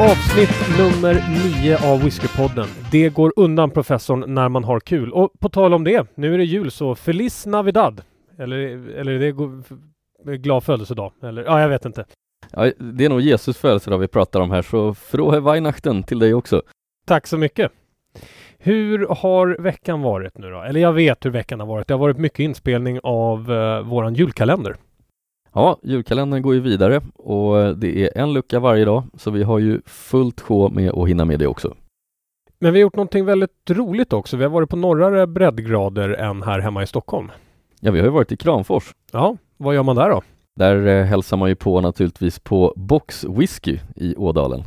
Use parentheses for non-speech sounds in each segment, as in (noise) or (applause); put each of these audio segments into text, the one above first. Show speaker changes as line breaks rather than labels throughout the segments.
Avsnitt nummer 9 av Whiskypodden. Det går undan professorn när man har kul. Och på tal om det, nu är det jul så Feliz Navidad. Eller, eller det går, glad födelsedag. Eller ja, jag vet inte.
Ja, det är nog Jesus födelsedag vi pratar om här, så frohe Weihnachten till dig också.
Tack så mycket. Hur har veckan varit nu då? Eller jag vet hur veckan har varit. Det har varit mycket inspelning av eh, våran julkalender.
Ja, julkalendern går ju vidare och det är en lucka varje dag, så vi har ju fullt sjå med att hinna med det också.
Men vi har gjort någonting väldigt roligt också. Vi har varit på norrare breddgrader än här hemma i Stockholm.
Ja, vi har ju varit i Kramfors.
Ja, vad gör man där då?
Där eh, hälsar man ju på naturligtvis på Box Whisky i Ådalen.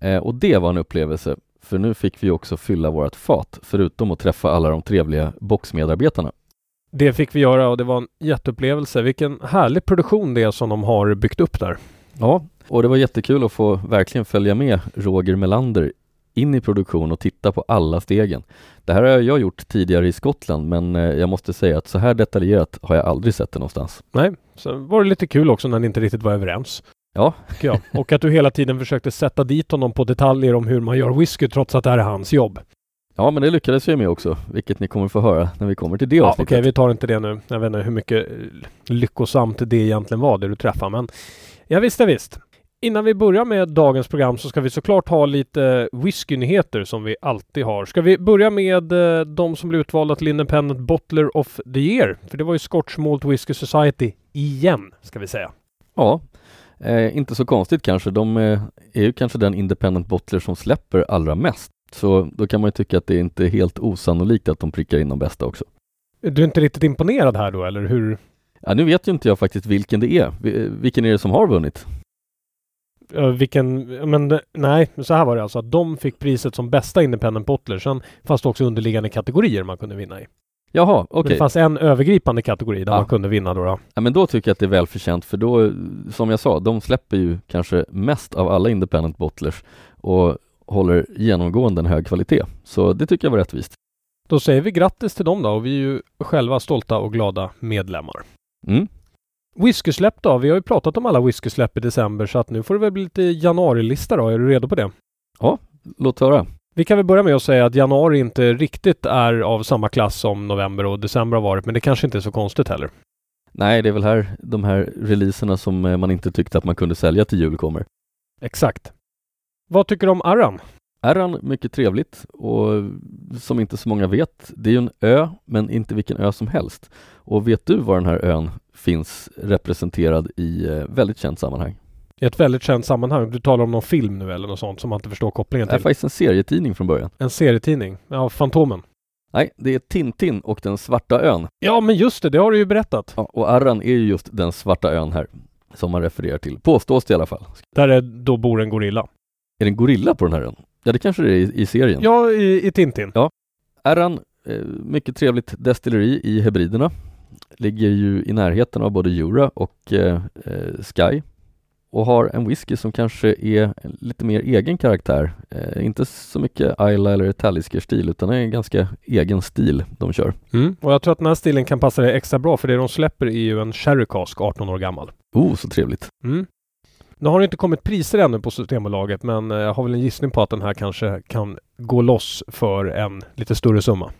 Eh, och det var en upplevelse, för nu fick vi också fylla vårt fat, förutom att träffa alla de trevliga boxmedarbetarna.
Det fick vi göra och det var en jätteupplevelse. Vilken härlig produktion det är som de har byggt upp där.
Ja, och det var jättekul att få verkligen följa med Roger Melander in i produktion och titta på alla stegen. Det här har jag gjort tidigare i Skottland, men eh, jag måste säga att så här detaljerat har jag aldrig sett det någonstans.
Nej, sen var det lite kul också när ni inte riktigt var överens.
Ja.
tycker jag. Och att du hela tiden försökte sätta dit honom på detaljer om hur man gör whisky trots att det här är hans jobb.
Ja, men det lyckades jag med också, vilket ni kommer få höra när vi kommer till det
Ja, Okej,
avsnittet.
vi tar inte det nu. Jag vet inte hur mycket eh, lyckosamt det egentligen var, det du träffade, men ja, visst, ja, visst. Innan vi börjar med dagens program så ska vi såklart ha lite eh, whiskynyheter som vi alltid har. Ska vi börja med eh, de som blev utvalda till Independent Bottler of the Year? För det var ju Scotch Malt Whisky Society igen, ska vi säga.
Ja, eh, inte så konstigt kanske. De eh, är ju kanske den independent bottler som släpper allra mest. Så då kan man ju tycka att det inte är helt osannolikt att de prickar in de bästa också.
Är Du är inte riktigt imponerad här då, eller hur?
Ja, nu vet ju inte jag faktiskt vilken det är. Vi- eh, Vilken är det som har vunnit?
Eh, vilken, men eh, nej, så här var det alltså att de fick priset som bästa Independent Bottler, sen fanns det också underliggande kategorier man kunde vinna i.
Jaha,
Men
okej.
Det fanns en övergripande kategori där
Ja.
man kunde vinna då. då.
Ja, men då tycker jag att det är välförtjänt för då, eh, som jag sa, de släpper ju kanske mest av alla independent bottlers och håller genomgående en hög kvalitet. Så det tycker jag var rättvist.
Då säger vi grattis till dem då och vi är ju själva stolta och glada medlemmar.
Mm.
Whiskysläpp då? Vi har ju pratat om alla whiskysläpp i december så att nu får det väl bli lite januarilista då. Är du redo på det?
Låt höra.
Vi kan väl börja med att säga att januari inte riktigt är av samma klass som november och december har varit, men det kanske inte är så konstigt heller.
Nej, det är väl här de här releaserna som eh, man inte tyckte att man kunde sälja till jul kommer.
Exakt. Vad tycker du om Arran?
Ärran, mycket trevligt och som inte så många vet, det är ju en ö, men inte vilken ö som helst. Och vet du var den här ön finns representerad i eh, väldigt känt sammanhang?
I ett väldigt känt sammanhang. Du talar om någon film nu eller något sånt som man inte förstår kopplingen
Det är
till.
faktiskt en serietidning från början.
En serietidning. Ja, Fantomen.
Nej, det är Tintin och den svarta ön.
Ja, men just det. Det har du ju berättat.
Ja, och Arran är ju just den svarta ön här, som man refererar till. Påstås det i alla fall.
Där är, då bor en gorilla.
Är det en gorilla på den här ön? Ja, det kanske det är i, i serien.
Ja, i, i Tintin.
Arran, eh, mycket trevligt destilleri i Hebriderna. Ligger ju i närheten av både Jura och eh, eh, Sky och har en whisky som kanske är lite mer egen karaktär. Eh, inte så mycket Isla eller Talisker-stil utan är en ganska egen stil de kör.
Och jag tror att den här stilen kan passa dig extra bra för det de släpper är ju en Sherry Cask 18 år gammal.
Oh, så trevligt.
Mm. Nu har det inte kommit priser ännu på Systembolaget men eh, jag har väl en gissning på att den här kanske kan gå loss för en lite större summa.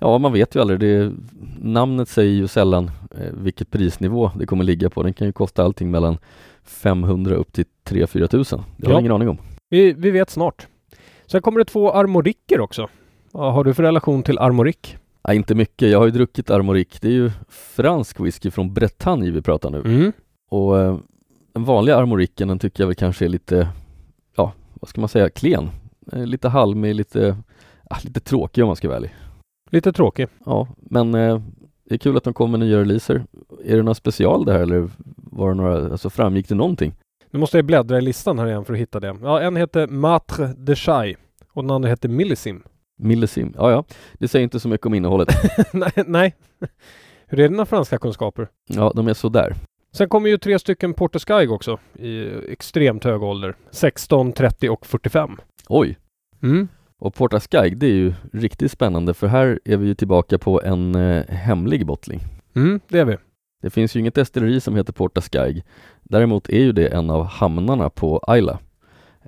Ja, man vet ju aldrig. Det, namnet säger ju sällan eh, vilket prisnivå det kommer ligga på. Den kan ju kosta allting mellan 500 upp till 3-4 tusen. Det har
Ja.
jag ingen aning om.
Vi, vi vet snart. Sen kommer det två armoricker också. Vad har du för relation till armorick?
Nej, inte mycket. Jag har ju druckit Armoric. Det är ju fransk whisky från Bretagne vi pratar nu.
Mm.
Och eh, den vanliga Armoricen den tycker jag väl kanske är lite, ja, vad ska man säga, klen. Eh, lite halmig, lite, ah, lite tråkig om man ska vara ärlig.
Lite tråkig.
Ja, men eh, det är kul att de kommer med nya releaser. Är det några special där eller var det några, alltså framgick det någonting?
Nu måste jag bläddra i listan här igen för att hitta det. Ja, en heter Matre de Chai och den andra heter Millisim.
Millisim, ja ja, det säger inte så mycket om innehållet.
(laughs) nej, nej. Hur är dina franska kunskaper?
Ja, de är sådär.
Sen kommer ju tre stycken Porter Skyg också i extremt hög ålder. 16, 30 och 45.
Oj, Och Porta Sky, det är ju riktigt spännande för här är vi ju tillbaka på en eh, hemlig bottling.
Mm, det är vi.
Det finns ju inget destilleri som heter Porta Sky. Däremot är ju det en av hamnarna på Isla.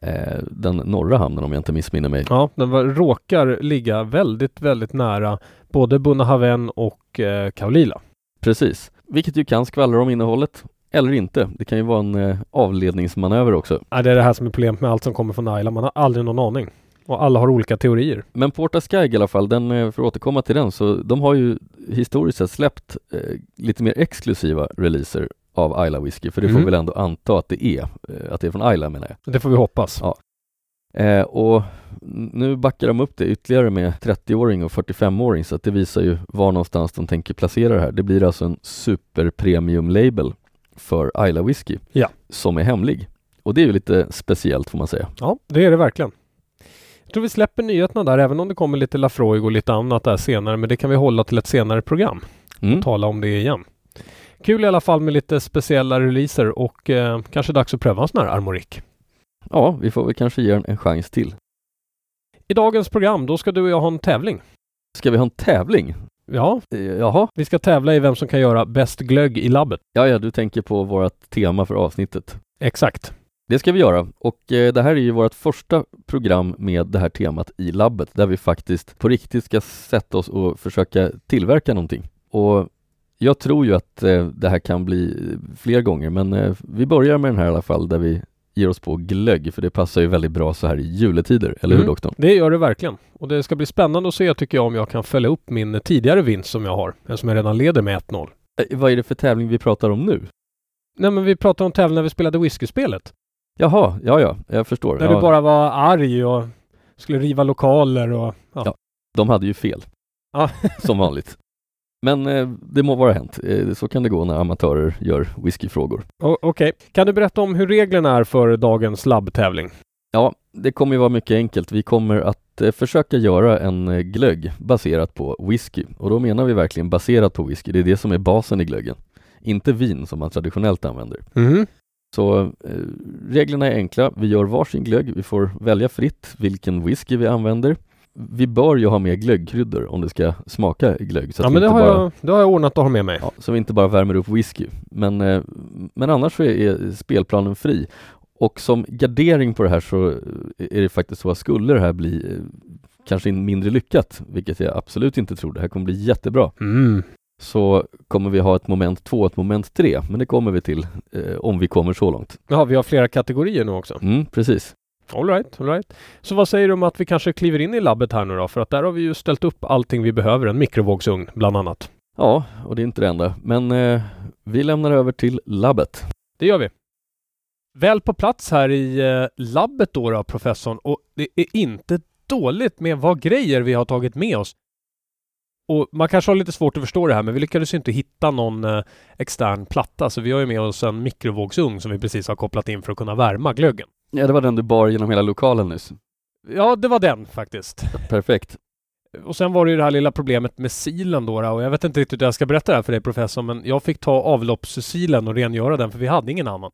eh, den norra hamnen om jag inte missminner mig.
Ja, den var, råkar ligga väldigt, väldigt nära både Bunnahaven och eh, Kaolila.
Precis, vilket ju kan skvallra om innehållet eller inte. Det kan ju vara en eh, avledningsmanöver också.
Ja, det är det här som är problemet med allt som kommer från Isla. Man har aldrig någon aning. Och alla har olika teorier.
Men Porta Skag i alla fall, den, eh, för att återkomma till den, så de har ju historiskt sett släppt eh, lite mer exklusiva releaser av Isla Whisky, för det får
Mm.
vi väl ändå anta att det är, eh, att det är från Isla menar jag.
Det får vi hoppas.
Ja. Eh, och nu backar de upp det ytterligare med 30-åring och 45-åring så att det visar ju var någonstans de tänker placera det här. Det blir alltså en superpremium label för Isla Whisky
Ja.
som är hemlig. Och det är ju lite speciellt får man säga.
Ja, det är det verkligen. Jag tror vi släpper nyheterna där, även om det kommer lite Lafroig och lite annat där senare. Men det kan vi hålla till ett senare program.
Mm.
Tala om det igen. Kul i alla fall med lite speciella releaser och eh, kanske dags att pröva en sån här armorik.
Ja, vi får väl kanske ge den en chans till.
I dagens program, då ska du och jag ha en tävling.
Ska vi ha en tävling?
Ja,
Eh, jaha,
vi ska tävla i vem som kan göra bäst glögg i labbet.
ja, ja, du tänker på vårt tema för avsnittet.
Exakt.
Det ska vi göra och eh, det här är ju vårt första program med det här temat i labbet där vi faktiskt på riktigt ska sätta oss och försöka tillverka någonting. Och jag tror ju att eh, det här kan bli eh, fler gånger men eh, vi börjar med den här i alla fall där vi ger oss på glögg för det passar ju väldigt bra så här i juletider, eller hur
Mm.
doktorn?
Det gör det verkligen. Och det ska bli spännande att se tycker jag om jag kan följa upp min tidigare vinst som jag har. Den som jag redan leder med 1-0.
Eh, vad är det för tävling vi pratar om nu?
Nej men vi pratade om tävlingen när vi spelade whiskyspelet.
Jaha, ja ja, jag förstår.
När
Ja,
du bara var arg och skulle riva lokaler och... Ja.
Ja. De hade ju fel,
Ja.
som vanligt. Men eh, det må vara hänt, eh, så kan det gå när amatörer gör whiskyfrågor.
(laughs) O- Okej. Kan du berätta om hur reglerna är för dagens labbtävling?
Ja, det kommer ju vara mycket enkelt. Vi kommer att eh, försöka göra en eh, glögg baserat på whisky. Och då menar vi verkligen baserat på whisky. Det är det som är basen i glöggen. Inte vin som man traditionellt använder.
Mm.
Så eh, reglerna är enkla. Vi gör varsin glögg. Vi får välja fritt vilken whisky vi använder. Vi bör ju ha med glöggkryddor om det ska smaka glögg. Så
Ja
att
men
vi
det
inte
har,
bara...
jag, det har jag ordnat att ha med mig.
Ja, så vi inte bara värmer upp whisky. Men, eh, men annars så är spelplanen fri. Och som gardering på det här så eh, är det faktiskt så att skulle det här bli eh, kanske mindre lyckat, vilket jag absolut inte tror, det här kommer bli jättebra,
Mm.
så kommer vi ha ett moment två och ett moment tre, men det kommer vi till eh, om vi kommer så långt.
Ja, vi har flera kategorier nu också.
Mm, precis.
All right, all right. Så vad säger du om att vi kanske kliver in i labbet här nu då? För att där har vi ju ställt upp allting vi behöver. En mikrovågsugn bland annat.
Ja, och det är inte det enda, men eh, vi lämnar över till labbet.
Det gör vi. Väl på plats här i eh, labbet då, då professorn. Och det är inte dåligt med vad grejer vi har tagit med oss. Och man kanske har lite svårt att förstå det här men vi lyckades ju inte hitta någon eh, extern platta så vi har ju med oss en mikrovågsugn som vi precis har kopplat in för att kunna värma glöggen.
Ja, det var den du bar genom hela lokalen nyss.
Ja, det var den faktiskt.
Perfekt.
Och sen var det ju det här lilla problemet med silen då, då och jag vet inte riktigt hur jag ska berätta det här för dig professor men jag fick ta avloppssilen och rengöra den för vi hade ingen annan.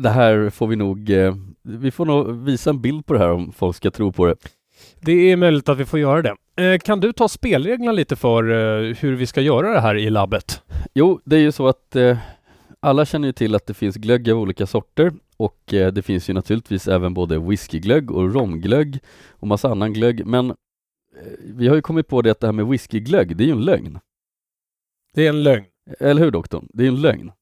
Det här får vi nog, eh, vi får nog visa en bild på det här om folk ska tro på det.
Det är möjligt att vi får göra det. Eh, kan du ta spelreglerna lite för eh, hur vi ska göra det här i labbet?
Jo, det är ju så att eh, alla känner ju till att det finns glögg av olika sorter och eh, det finns ju naturligtvis även både whiskyglögg och romglögg och massa annan glögg, men eh, vi har ju kommit på det att det här med whiskyglögg, det är ju en lögn.
Det är en lögn.
Eller hur doktorn? Det är ju en lögn.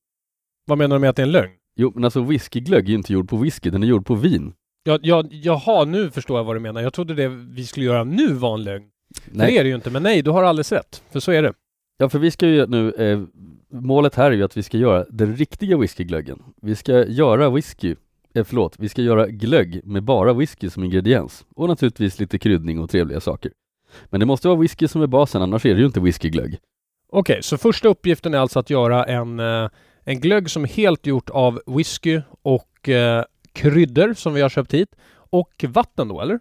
Vad menar du med att det är en lögn?
Jo, men alltså whiskyglögg är ju inte gjord på whisky, den är gjord på vin.
Ja, ja, jaha, nu förstår jag vad du menar. Jag trodde det vi skulle göra nu var en lögn. Nej.
Nej.
Det är det ju inte, men nej, du har alldeles rätt. För så är det.
Ja, för vi ska ju nu, eh, målet här är ju att vi ska göra den riktiga whiskyglöggen. Vi ska göra whisky, eh, förlåt, vi ska göra glögg med bara whisky som ingrediens och naturligtvis lite kryddning och trevliga saker. Men det måste vara whisky som är basen, annars är det ju inte whiskyglögg.
Okej, så första uppgiften är alltså att göra en, eh, en glögg som är helt gjort av whisky och eh, kryddor som vi har köpt hit. Och vatten då, eller?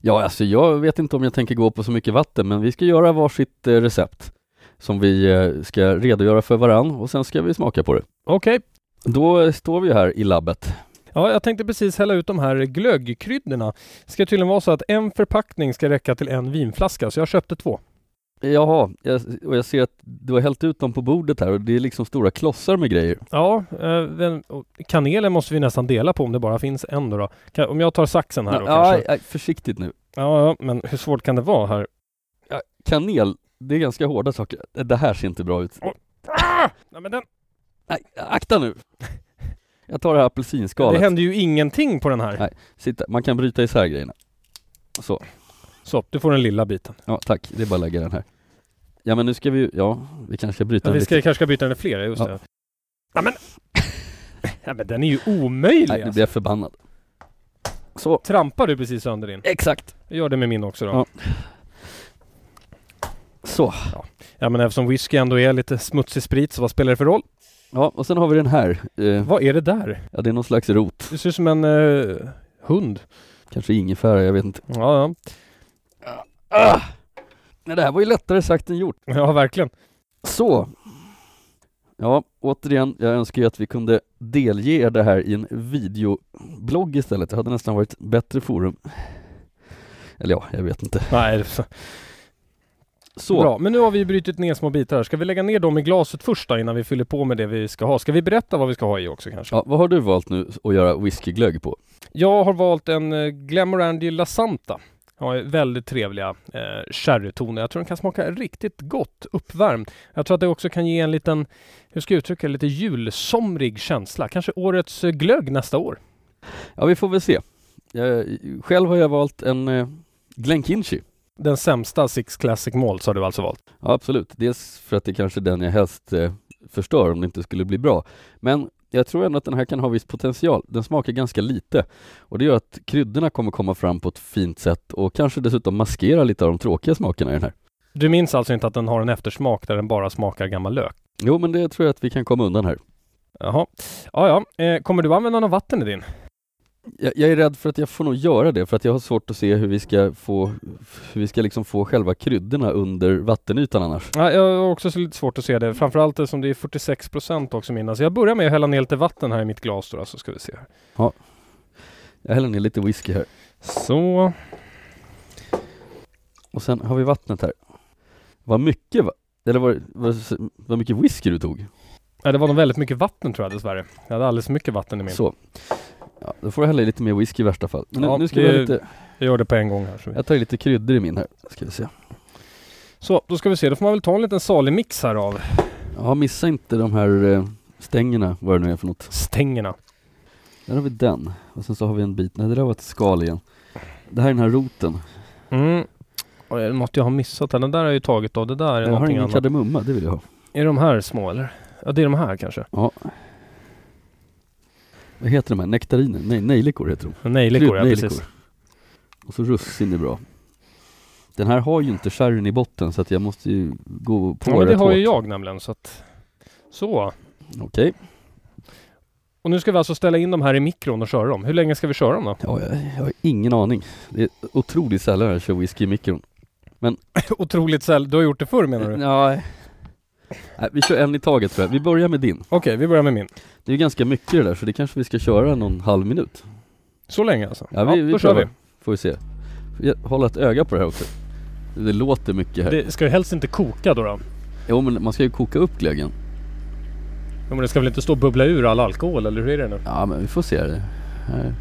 Ja, alltså jag vet inte om jag tänker gå på så mycket vatten, men vi ska göra varsitt eh, recept som vi eh, ska redogöra för varann och sen ska vi smaka på det.
Okej.
Då eh, står vi ju här i labbet.
Ja, jag tänkte precis hälla ut de här glöggkryddorna. Det ska tydligen vara så att en förpackning ska räcka till en vinflaska, så jag köpte två.
Jaha, jag, och jag ser att du har hällt ut dem på bordet här och det är liksom stora klossar med grejer.
Ja, eh, den, och kanelen måste vi nästan dela på om det bara finns en då. då. Kan, om jag tar saxen här då
ja,
kanske.
ja, försiktigt nu.
Ja, ja, men hur svårt kan det vara här?
Ja, kanel, det är ganska hårda saker. Eh, Det här ser inte bra ut.
Ah! Nej, men den,
Nej,
(laughs)
akta nu! Jag tar det här
det
apelsinskalet.
händer ju ingenting på den här.
Nej. Sitta, man kan bryta isär grejerna. Så,
Så, du får den lilla biten.
ja tack, det är bara att lägga den här. Ja men nu ska vi ju, ja, vi kanske ska
Ja,
bryta den
vi
lite.
ska, kanske ska byta den i flera, just
Ja.
det. Ja, men... ja, men den är ju omöjlig
(laughs) Nej, nu
alltså.
blir jag förbannad. Så,
Trampar du precis sönder din?
exakt.
Jag gör det med min också då.
Ja.
Ja,
Så,
men eftersom whisky ändå är lite smutsig sprit, så vad spelar det för roll?
ja och sen har vi den här. Eh,
Vad är det där?
ja det är någon slags rot,
Det ser ut som en eh, hund.
kanske ingefära, jag vet inte.
Ja, ja.
Ah! Nej, det här var ju lättare sagt än gjort.
ja verkligen.
Så. Ja, återigen, jag önskar ju att vi kunde delge er det här i en videoblogg istället. Det hade nästan varit bättre forum. Eller ja, jag vet inte.
Nej, det-
Så,
Bra, men nu har vi brutit ner små bitar här. Ska vi lägga ner dem i glaset först då, innan vi fyller på med det vi ska ha? Ska vi berätta vad vi ska ha i också kanske?
ja, vad har du valt nu att göra whiskyglögg på?
Jag har valt en eh, Glamorangi Lasanta. Har väldigt trevliga eh, sherrytoner. Jag tror den kan smaka riktigt gott uppvärmd. Jag tror att det också kan ge en liten, hur ska jag uttrycka det, lite julsomrig känsla. Kanske årets eh, glögg nästa år.
Ja, vi får väl se. Jag, själv har jag valt en eh, Glenkinchy.
Den sämsta Six Classic Malts har du alltså valt?
Ja, absolut. Dels för att det kanske är den jag helst eh, förstör om det inte skulle bli bra. Men jag tror ändå att den här kan ha viss potential. Den smakar ganska lite och det gör att kryddorna kommer komma fram på ett fint sätt och kanske dessutom maskera lite av de tråkiga smakerna i den här.
Du minns alltså inte att den har en eftersmak där den bara smakar gammal lök?
Jo, men det tror jag att vi kan komma undan här.
Jaha. Ja, ja. Eh, kommer du använda något vatten i din?
Jag, jag är rädd för att jag får nog göra det för att jag har svårt att se hur vi ska få, hur vi ska liksom få själva kryddorna under vattenytan annars.
Ja, jag har också så lite svårt att se det. Framförallt eftersom det är 46 procent också minnas. Jag börjar med att hälla ner lite vatten här i mitt glas då, så ska vi se. här.
Jag häller ner lite whisky här
Så.
och sen har vi vattnet här. Vad mycket va? Eller var, var, var mycket whisky du tog?
Ja, det var nog väldigt mycket vatten tror jag dessvärre. Jag hade alldeles för mycket vatten i min.
Så. Ja, då får jag hälla i lite mer whisky i värsta fall. Men nu,
Ja,
nu ska
det-
vi ha lite,
Jag gör det på en gång här. Så, vi...
jag tar i lite kryddor i min här. Ska vi se.
så, då ska vi se. Då får man väl ta en liten salig mix här av
Ja, missa inte de här eh, stängerna, vad det nu är för något.
stängerna.
Där har vi den. Och sen så har vi en bit, nej det där var ett skal igen. Det här är den här roten.
Mm. Oj, är det något jag har missat här? Den där har jag ju tagit av. Det där är
Jag har
någonting
ingen
annat.
kardemumma, det vill jag ha.
Är det de här små eller? Ja, det är de här kanske.
Vad heter de här? Nektariner? Nej, nejlikor heter de.
Nejlikor, ja
Kryddnejlikor.
precis.
Och så russin är bra. Den här har ju inte sherryn i botten så att jag måste ju gå på
Ja, men det
rätt
har ju
hårt.
jag nämligen så att... Så.
Okej.
Och nu ska vi alltså ställa in de här i mikron och köra dem. Hur länge ska vi köra dem då?
Ja, jag, jag har ingen aning. Det är otroligt sällan jag kör whisky i mikron.
(laughs) Otroligt säll. Du har gjort det förr menar (laughs) du? Okej,
Ja. Nej, vi kör en i taget tror jag. Vi börjar med din.
vi börjar med min.
Det är ju ganska mycket det där så det kanske vi ska köra någon halv minut.
Så länge alltså?
Ja, vi, vi
då kör vi.
Får vi se. Jag håller ett öga på det här också. Det låter mycket här.
Det ska ju helst inte koka då. då.
Jo men man ska ju koka upp glöggen.
Jo, men det ska väl inte stå och bubbla ur all alkohol eller hur är det nu?
Ja men vi får se. Det här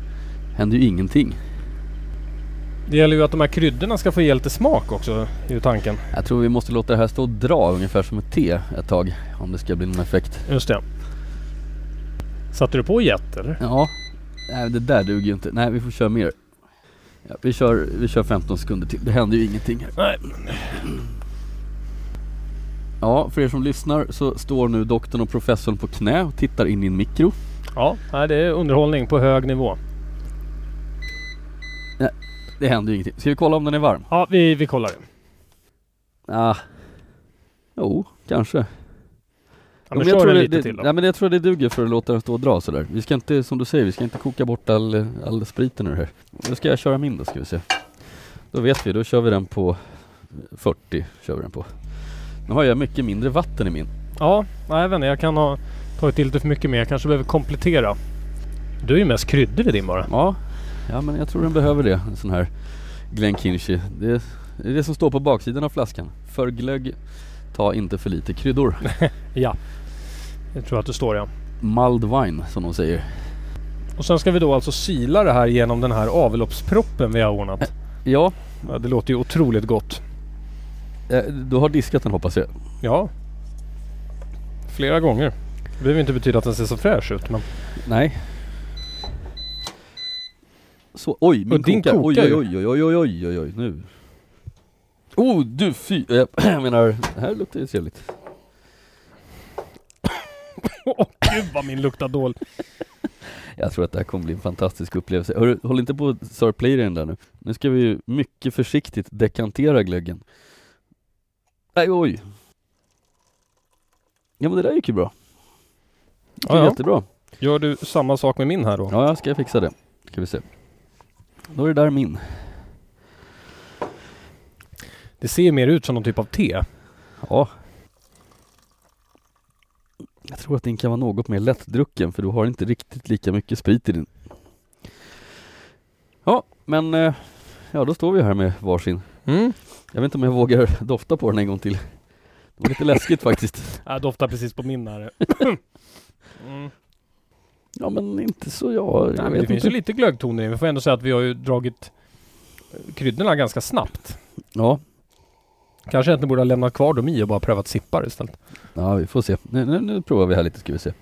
händer ju ingenting.
Det gäller ju att de här kryddorna ska få ge lite smak också, är ju tanken.
Jag tror vi måste låta det här stå och dra ungefär som ett te ett tag. Om det ska bli någon effekt.
Just det. Satte du på jet eller?
Ja. Nej det där duger ju inte. Nej vi får köra mer. Ja, vi, kör, vi kör 15 sekunder till. Det händer ju ingenting här.
Nej.
Ja, för er som lyssnar så står nu doktorn och professorn på knä och tittar in i en mikro.
Ja, nej, det är underhållning på hög nivå.
Det händer ju ingenting. Ska vi kolla om den är varm?
Ja, vi, vi kollar det.
Ah. Jo, kanske.
Ja, men
jag
kör
tror
den
det,
lite
det,
till då.
Nej, men jag tror det duger för att låta den stå och dra sådär. Vi ska inte, som du säger, vi ska inte koka bort all, all spriten ur det här. Nu ska jag köra min då, ska vi se. Då vet vi, då kör vi den på 40. Kör vi den på. Nu har jag mycket mindre vatten i min.
Ja, nej, jag vet inte. Jag kan ha tagit till lite för mycket mer. Jag kanske behöver komplettera. Du är ju mest kryddor i din bara.
Ja, ja men jag tror den behöver det. En sån här Glenkinchy. Det Det är det som står på baksidan av flaskan. För glögg, ta inte för lite kryddor.
Ja. Jag tror att det står ja.
Mulled wine som de säger.
Och sen ska vi då alltså sila det här genom den här avloppsproppen vi har ordnat.
Ja,
Ja, det låter ju otroligt gott.
eh, du har diskat den hoppas jag.
Ja. Flera gånger. Det behöver inte betyda att den ser så fräsch ut men...
Nej. Så, oj, min
Och din
kokar.
kokar
Oj,
ju.
oj, oj, oj, oj, oj, oj, oj, nu. Oh, du fy. (clears throat) eh, Jag menar, det här luktar ju trevligt.
(laughs) Åh gud vad min luktar dåligt.
Jag tror att det här kommer bli en fantastisk upplevelse. Hörru, håll inte på och sörpla i den där nu. Nu ska vi ju mycket försiktigt dekantera glöggen. Nej, oj. Ja men det där gick ju bra. Det gick
Ja,
ju
ja.
jättebra.
Gör du samma sak med min här då?
Ja, jag ska fixa det. Ska vi se. Då är det där min.
Det ser ju mer ut som någon typ av te.
Ja. Jag tror att din kan vara något mer lättdrucken för du har inte riktigt lika mycket sprit i din. Ja, men eh, ja, då står vi här med varsin.
Mm.
Jag vet inte om jag vågar (laughs) dofta på den en gång till. Det var lite läskigt faktiskt.
Jag doftar precis på (laughs) min här. mm.
Ja, men inte så jag.
Nej,
jag
men det
vet
finns
inte.
ju lite glöggtoner i. Vi får ändå säga att vi har ju dragit eh, kryddorna ganska snabbt.
Ja,
Kanske egentligen borde ha lämnat kvar dem i och bara prövat sippar istället.
ja, vi får se. Nu, nu, nu provar vi här lite ska vi se.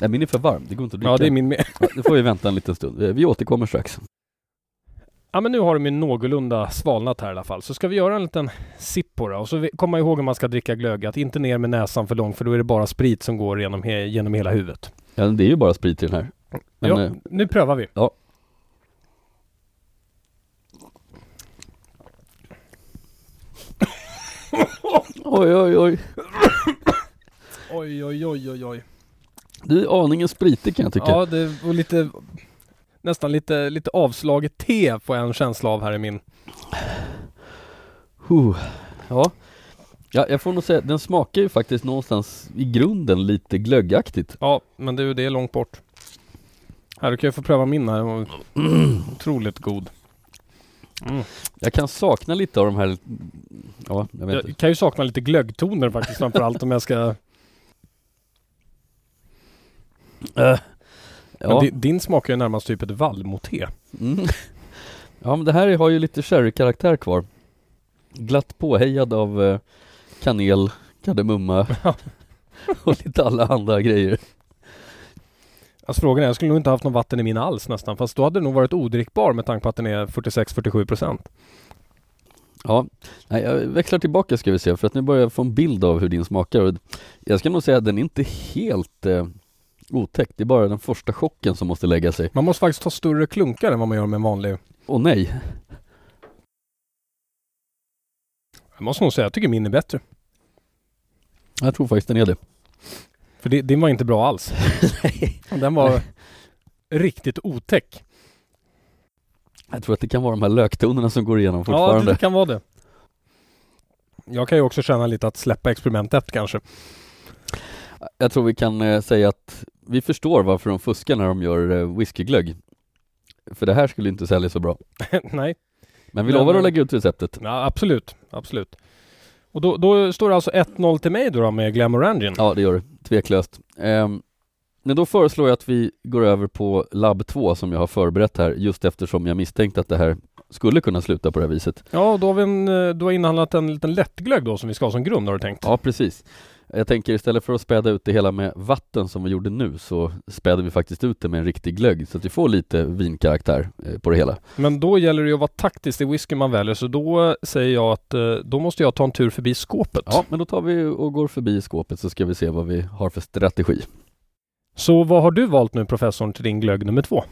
Nej, min är för varm. Det går inte att dricka.
Ja, det är min med.
Ja, Nu får vi vänta en liten stund. Eh, Vi återkommer strax.
Ja, men nu har de ju någorlunda svalnat här i alla fall. Så ska vi göra en liten sipp på det. Och så vi- komma ihåg om man ska dricka glögg att inte ner med näsan för långt för då är det bara sprit som går genom, he- genom hela huvudet.
Ja, det är ju bara sprit i den här. Men,
ja,
eh,
nu prövar vi.
ja. Oj, oj, oj.
Oj, oj, oj, oj, oj.
Du är aningen spritig kan jag tycka.
Ja, det var lite nästan lite, lite avslaget te får jag en känsla av här i min.
Huh. Ja. ja, jag får nog säga den smakar ju faktiskt någonstans i grunden lite glöggaktigt.
Ja, men du, det är långt bort. Här, du kan ju få pröva min här. Den var Otroligt god.
Jag kan sakna lite av de här, ja, jag vet
Jag
inte.
kan ju sakna lite glöggtoner faktiskt framförallt om jag ska... Men
Ja.
di- din smakar ju närmast typ ett vallmote.
Mm. (laughs) ja, men det här har ju lite sherry-karaktär kvar. Glatt påhejad av eh, kanel,
(laughs)
kardemumma (laughs) och lite alla andra grejer.
Alltså frågan är, jag skulle nog inte haft något vatten i min alls nästan. Fast då hade det nog varit odrickbar med tanke på att den är 46-47 procent.
Ja, nej, jag växlar tillbaka ska vi se för att nu börjar jag få en bild av hur din smakar och jag ska nog säga att den är inte helt eh, otäck, det är bara den första chocken som måste lägga sig.
Man måste faktiskt ta större klunkar än vad man gör med en vanlig.
Åh nej,
Jag måste nog säga, jag tycker min är bättre.
jag tror faktiskt den är det.
För det, din var inte bra alls. Den var riktigt otäck.
Jag tror att det kan vara de här löktonerna som går igenom
Ja,
fortfarande.
det kan vara det. Jag kan ju också känna lite att släppa experimentet kanske. (laughs)
Jag tror vi kan eh, säga att vi förstår varför de fuskar när de gör eh, whiskyglögg. För det här skulle inte sälja så bra.
Nej,
Men vi
Men-
lovar att lägga ut receptet.
ja, absolut. Absolut. Och då, då står det alltså 1-0 till mig då, då med Glamorangin.
Ja, det gör det. Tveklöst. Ehm, men då föreslår jag att vi går över på labb 2 som jag har förberett här just eftersom jag misstänkte att det här skulle kunna sluta på det här viset.
Ja, då har vi en, eh, du har inhandlat en liten lättglögg då som vi ska ha som grund har du tänkt.
Ja, precis. Jag tänker istället för att späda ut det hela med vatten som vi gjorde nu så späder vi faktiskt ut det med en riktig glögg så att vi får lite vinkaraktär eh, på det hela.
Men då gäller det ju att vara taktisk i whisky man väljer så då eh, säger jag att eh, då måste jag ta en tur förbi skåpet.
Ja, men då tar vi och går förbi skåpet så ska vi se vad vi har för strategi.
Så vad har du valt nu professorn till din glögg nummer två?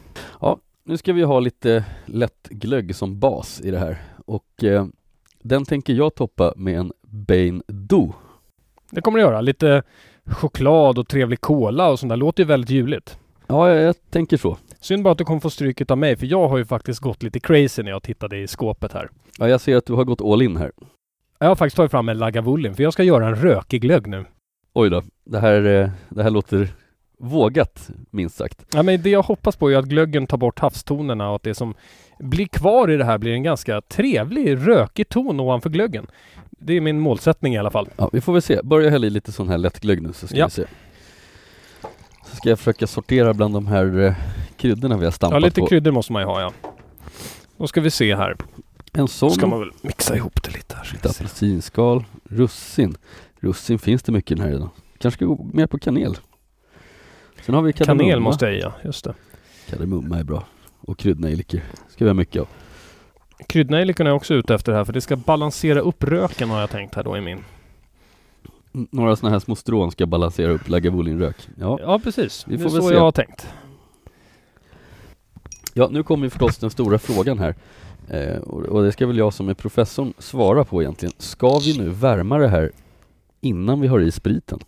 Nu ska vi ha lite lätt glögg som bas i det här och eh, den tänker jag toppa med en Bain Do.
Det kommer det göra. Lite choklad och trevlig cola och sånt där. Låter ju väldigt ljuvligt.
Ja, jag, jag tänker så.
Synd bara att du kommer få stryket av mig för jag har ju faktiskt gått lite crazy när jag tittade i skåpet här.
Ja, jag ser att du har gått all in här.
Jag har faktiskt tagit fram en Lagavulin för jag ska göra en rökig glögg nu.
Oj då, det här, eh, det här låter Vågat, minst sagt.
Ja, men det jag hoppas på är att glöggen tar bort havstonerna och att det som blir kvar i det här blir en ganska trevlig, rökig ton ovanför glöggen. Det är min målsättning i alla fall.
Ja, vi får väl se. Börja hälla i lite sån här lättglögg nu så ska
Ja.
vi se. Så ska jag försöka sortera bland de här eh, kryddorna vi har
Ja,
stampat
lite
på.
kryddor måste man ju ha ja. Då ska vi se här.
En sån,
Ska man väl mixa ihop det lite här. Ska
lite
vi se.
apelsinskal, russin. Russin finns det mycket i den här redan. Kanske ska gå mer på kanel. Sen har vi kardemumma.
Kanel måste jag i, ja, just det.
Kardemumma är bra. Och kryddnejlikor ska vi ha mycket av.
Kryddnejlikorna är jag också ute efter här för det ska balansera upp röken har jag tänkt här då i min.
N- Några sådana här små strån ska balansera upp Lagavulin-rök. Ja.
Ja precis,
Vi
det
får
är
väl
så
se.
jag har tänkt.
ja, nu kommer ju förstås den stora frågan här. Eh, och, och det ska väl jag som är professorn svara på egentligen. Ska vi nu värma det här innan vi har i spriten?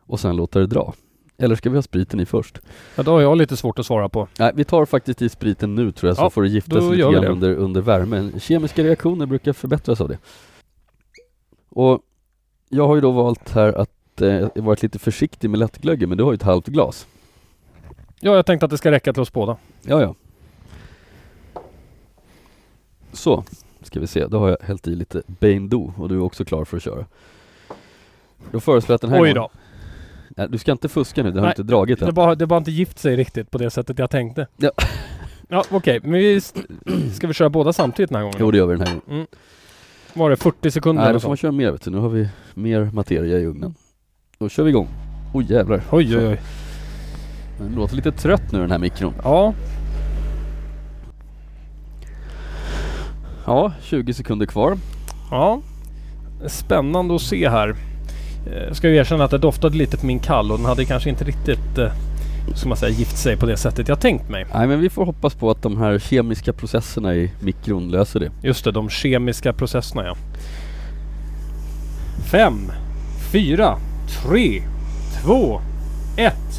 Och sen låta det dra? Eller ska vi ha spriten i först?
Ja, då har jag lite svårt att svara på.
Nej, vi tar faktiskt i spriten nu tror jag, så
Ja,
får det gifta
då
sig lite
gör vi
grann
det.
under, under värmen. Kemiska reaktioner brukar förbättras av det. Och jag har ju då valt här att eh, varit lite försiktig med lättglöggen, men du har ju ett halvt glas.
Ja, jag tänkte att det ska räcka till oss båda.
Ja, ja. Så, ska vi se. Då har jag hällt i lite Beindou och du är också klar för att köra. Då föreslår jag att den här
Oj
gången-
då,
Nej, du ska inte fuska nu, det har
Nej,
inte dragit
det
än.
bara, det bara inte gift sig riktigt på det sättet jag tänkte.
Ja.
Ja, okej, men vi st- ska vi köra båda samtidigt den här gången?
Jo, det gör vi den här gången.
Var det 40 sekunder
Nej,
eller
då får man
så?
köra mer vet du. Nu har vi mer materia i ugnen. Då kör vi igång. Oj jävlar.
Oj, oj, oj.
Den låter lite trött nu den här mikron.
Ja,
Ja, 20 sekunder kvar.
ja. Spännande att se här. Eh, Ska ju erkänna att det doftade lite på min kall och den hade kanske inte riktigt, eh, ska man säga, gift sig på det sättet jag tänkt mig.
Nej, men vi får hoppas på att de här kemiska processerna i mikron löser det.
Just det, de kemiska processerna ja. Fem, fyra, tre, två, ett.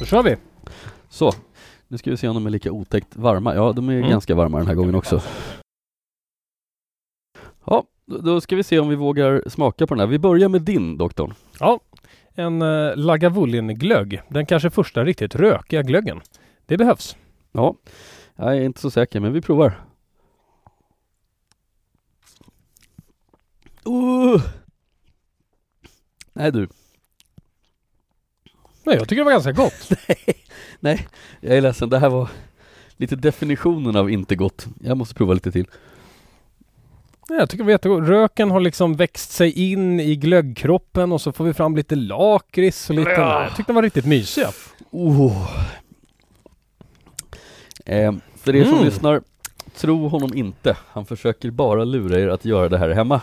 Då kör vi!
Så, nu ska vi se om de är lika otäckt varma. Ja, de är
Mm.
ganska varma den här gången också. Ja, då- då ska vi se om vi vågar smaka på den här. Vi börjar med din, doktorn.
En eh, Lagavulin-glögg. Den kanske första riktigt rökiga glöggen. Det behövs.
Ja, jag är inte så säker, men vi provar. Uh! Nej du,
Nej, jag tycker det var ganska gott.
jag är ledsen. Det här var lite definitionen av inte gott. Jag måste prova lite till.
Nej, jag tycker det var jättegott. Röken har liksom växt sig in i glöggkroppen och så får vi fram lite lakrits och lite...
Ja.
Nej, jag tyckte den var riktigt mysig.
Oh. Eh, för er som
Mm.
lyssnar, tro honom inte. Han försöker bara lura er att göra det här hemma.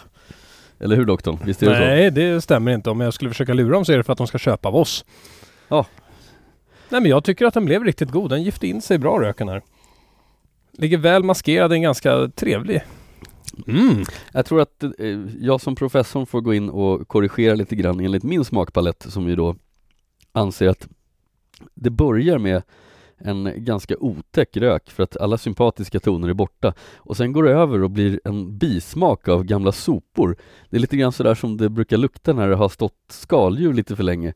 Eller hur doktorn? Visst är det så?
Nej, det stämmer inte. Om jag skulle försöka lura dem så är det för att de ska köpa av oss.
Ja.
Nej, men jag tycker att den blev riktigt god. Den gifte in sig bra, röken här. Ligger väl maskerad, en ganska trevlig. Mm.
Jag tror att eh, jag som professor får gå in och korrigera lite grann enligt min smakpalett som ju då anser att det börjar med en ganska otäck rök för att alla sympatiska toner är borta och sen går det över och blir en bismak av gamla sopor. Det är lite grann sådär som det brukar lukta när det har stått skaldjur lite för länge.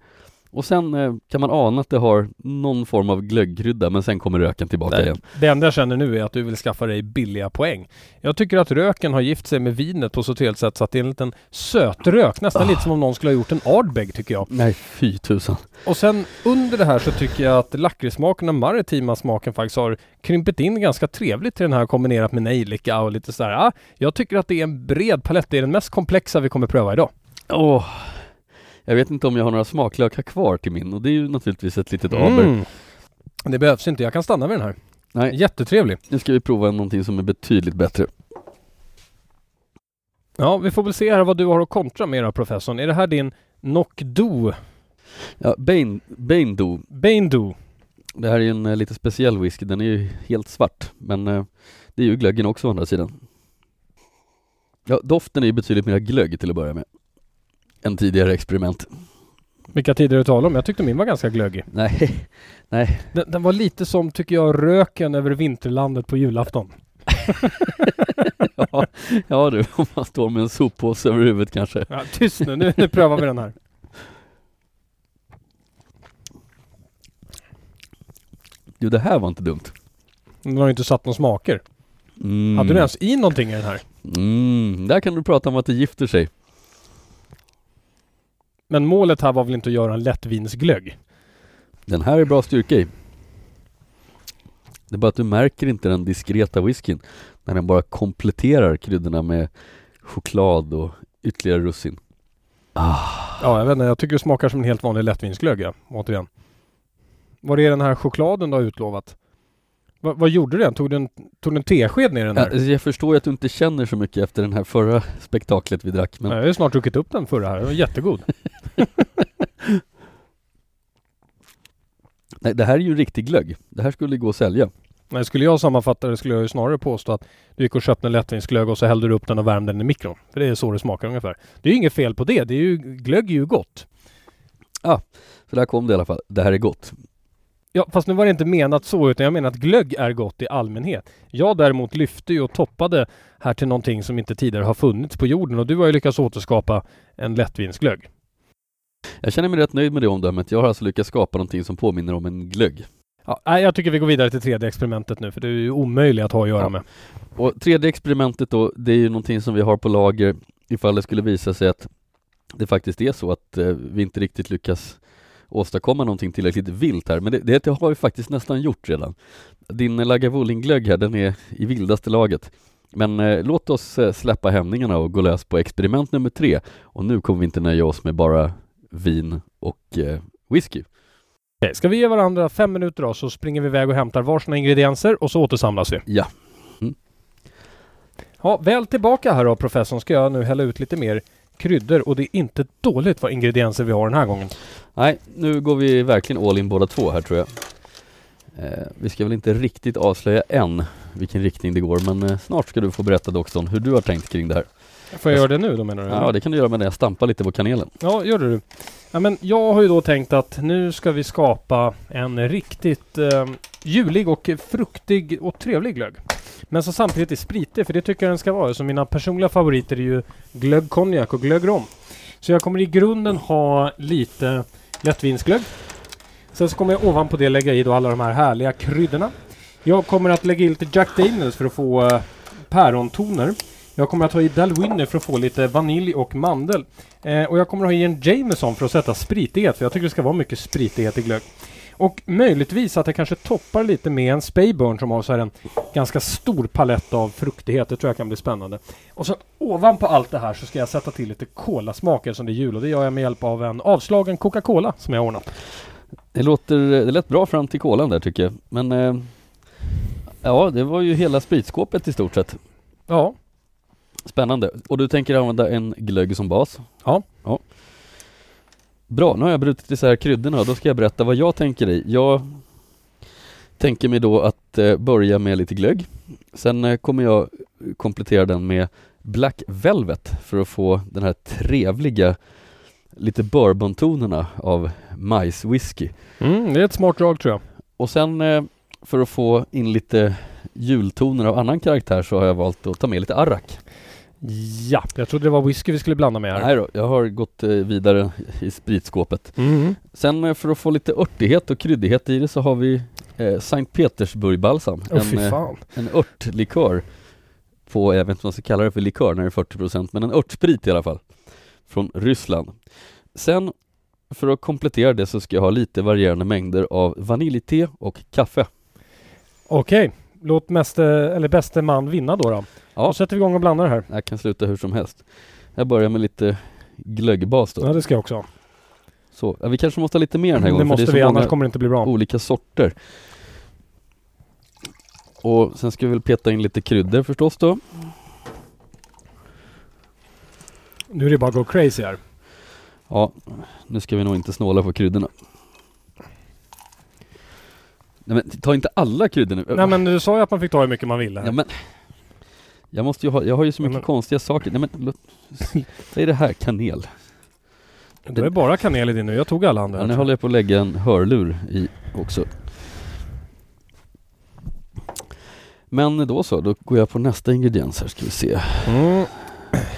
Och sen eh, kan man ana att det har någon form av glöggkrydda men sen kommer röken tillbaka
Nej,
igen.
det enda jag känner nu är att du vill skaffa dig billiga poäng. Jag tycker att röken har gift sig med vinet på så ett sätt så att det är en liten sötrök. Nästan
Ah.
lite som om någon skulle ha gjort en Ardbeg tycker jag.
Nej, fy tusan.
Och sen under det här så tycker jag att lakritssmaken och maritima smaken faktiskt har krympit in ganska trevligt till den här kombinerat med nejlika och lite sådär. Ah, jag tycker att det är en bred palett. Det är den mest komplexa vi kommer pröva idag.
Åh, jag vet inte om jag har några smaklökar kvar till min och det är ju naturligtvis ett litet aber.
Mm. Det behövs inte. Jag kan stanna vid den här.
Nej.
Jättetrevlig.
Nu ska vi prova någonting som är betydligt bättre.
Ja, vi får väl se här vad du har att kontra med då professorn. Är det här din Nokdo?
Ja, Bain, Baindu,
Beindu?
det här är ju en eh, lite speciell whisky, den är ju helt svart men eh, det är ju glöggen också å andra sidan. Ja, doften är ju betydligt mer glögg till att börja med än tidigare experiment.
Vilka tider du talar om? Jag tyckte min var ganska glöggig.
Nej, (laughs)
Den, den var lite som, tycker jag, röken över vinterlandet på julafton.
ja, ja du, om man står med en soppåse över huvudet kanske.
Ja, tyst nu, nu, nu prövar vi den här.
Jo, det här var inte dumt.
Den har ju inte satt några smaker.
Mm.
Hade du ens i någonting i den här?
Mm, där kan du prata om att det gifter sig.
Men målet här var väl inte att göra en lättvinsglögg?
Den här är bra styrka i. Det är bara att du märker inte den diskreta whiskyn när den bara kompletterar kryddorna med choklad och ytterligare russin.
Ja, jag vet inte. Jag tycker det smakar som en helt vanlig lättvinsglögg, ja. Återigen. Var är den här chokladen du har utlovat? Va, vad gjorde den? Tog den, tog den tesked ner i den här?
alltså, Jag, jag förstår ju att du inte känner så mycket efter den här förra spektaklet vi drack, men
Nej, Jag har ju snart druckit upp den förra här. Den var jättegod.
nej, det här är ju en riktig glögg. Det här skulle gå att sälja.
Nej, skulle jag sammanfatta det skulle jag ju snarare påstå att du gick och köpte en lättvinsglögg och så hällde du upp den och värmde den i mikron. För det är så det smakar ungefär. Det är ju inget fel på det. det är ju, glögg är ju gott.
Så där kom det i alla fall. Det här är gott.
Ja, fast nu var det inte menat så, utan jag menar att glögg är gott i allmänhet. Jag däremot lyfte ju och toppade här till någonting som inte tidigare har funnits på jorden och du har ju lyckats återskapa en lättvinsglögg.
Jag känner mig rätt nöjd med det omdömet. Jag har alltså lyckats skapa någonting som påminner om en glögg.
Ja, nej, jag tycker vi går vidare till tredje experimentet nu, för det är ju omöjligt att ha att göra
Ja.
med.
Och tredje experimentet då, det är ju någonting som vi har på lager ifall det skulle visa sig att det faktiskt är så att eh, vi inte riktigt lyckas åstadkomma någonting tillräckligt vilt här. Men det, det har vi faktiskt nästan gjort redan. Din eh, Lagavulin-glögg här, den är i vildaste laget. Men eh, låt oss eh, släppa hämningarna och gå lös på experiment nummer tre. Och nu kommer vi inte nöja oss med bara vin och eh, whisky.
Okej, ska vi ge varandra fem minuter då, så springer vi iväg och hämtar varsina ingredienser och så återsamlas vi. Mm.
Ja.
Ja, väl tillbaka här då professorn ska jag nu hälla ut lite mer kryddor och det är inte dåligt vad ingredienser vi har den här gången.
Nej, nu går vi verkligen all in båda två här tror jag. Eh, vi ska väl inte riktigt avslöja än vilken riktning det går, men eh, snart ska du få berätta Doxon hur du har tänkt kring det här.
Får jag göra det nu då menar du?
Ja, det kan du göra medan jag stampar lite på kanelen.
Ja, gör det du. Ja, men jag har ju då tänkt att nu ska vi skapa en riktigt eh, julig och fruktig och trevlig glögg. Men som samtidigt är spritig, för det tycker jag den ska vara. Så mina personliga favoriter är ju glögg konjak och glögg rom. Så jag kommer i grunden ha lite lättvinsglögg. Sen så kommer jag ovanpå det lägga i då alla de här härliga kryddorna. Jag kommer att lägga i lite Jack Daniels för att få eh, pärontoner. Jag kommer att ha i Dalwhinner för att få lite vanilj och mandel. Eh, och jag kommer att ha i en Jameson för att sätta spritighet, för jag tycker det ska vara mycket spritighet i glögg. Och möjligtvis att jag kanske toppar lite med en Speyburn som har så här en ganska stor palett av fruktighet. Det tror jag kan bli spännande. Och så ovanpå allt det här så ska jag sätta till lite kolasmaker som det är jul och det gör jag med hjälp av en avslagen Coca-Cola som jag har ordnat.
Det låter, eh, det lät bra fram till kolan där tycker jag, men eh, ja, det var ju hela spritskåpet i stort sett.
Ja,
Spännande. Och du tänker använda en glögg som bas?
Ja.
ja. Bra, nu har jag brutit isär kryddorna och då ska jag berätta vad jag tänker i. Jag tänker mig då att eh, börja med lite glögg. Sen eh, kommer jag komplettera den med Black Velvet för att få den här trevliga lite bourbontonerna av majswhisky.
mm, det är ett smart drag tror jag.
Och sen eh, för att få in lite jultoner av annan karaktär så har jag valt att ta med lite arrak.
Ja, jag trodde det var whisky vi skulle blanda med här.
Nej då, jag har gått eh, vidare i spritskåpet.
Mm.
Sen eh, för att få lite örtighet och kryddighet i det så har vi eh, Sankt Petersburg-balsam.
Åh
en,
fy
eh,
fan.
en örtlikör på, jag vet inte vad man ska kalla det för likör när det är 40% men en örtsprit i alla fall. Från Ryssland. Sen för att komplettera det så ska jag ha lite varierande mängder av vaniljte och kaffe.
Okej, låt meste, eller bäste man vinna då. då.
Ja.
Då sätter vi igång och blandar det här.
Det här kan sluta hur som helst. Jag börjar med lite glöggbas då.
Ja, det ska jag också ha.
Så, ja, vi kanske måste ha lite mer den här
Det
gången för
måste
det är så
vi,
många
annars kommer det inte bli bra.
olika sorter. Och sen ska vi väl peta in lite kryddor förstås då.
Nu är det bara att gå crazy här.
Ja, nu ska vi nog inte snåla på kryddorna. Nej men ta inte alla kryddor nu.
Nej men du sa ju att man fick ta hur mycket man ville.
Ja, men, jag måste ju ha, jag har ju så
Nej,
mycket
men-
konstiga saker. Nej men låt,
(laughs)
säg det här, kanel.
det är bara kanel i din nu. Jag tog alla andra.
Ja, nu håller jag på att lägga en hörlur i också. Men då så, då går jag på nästa ingrediens här ska vi se.
mm.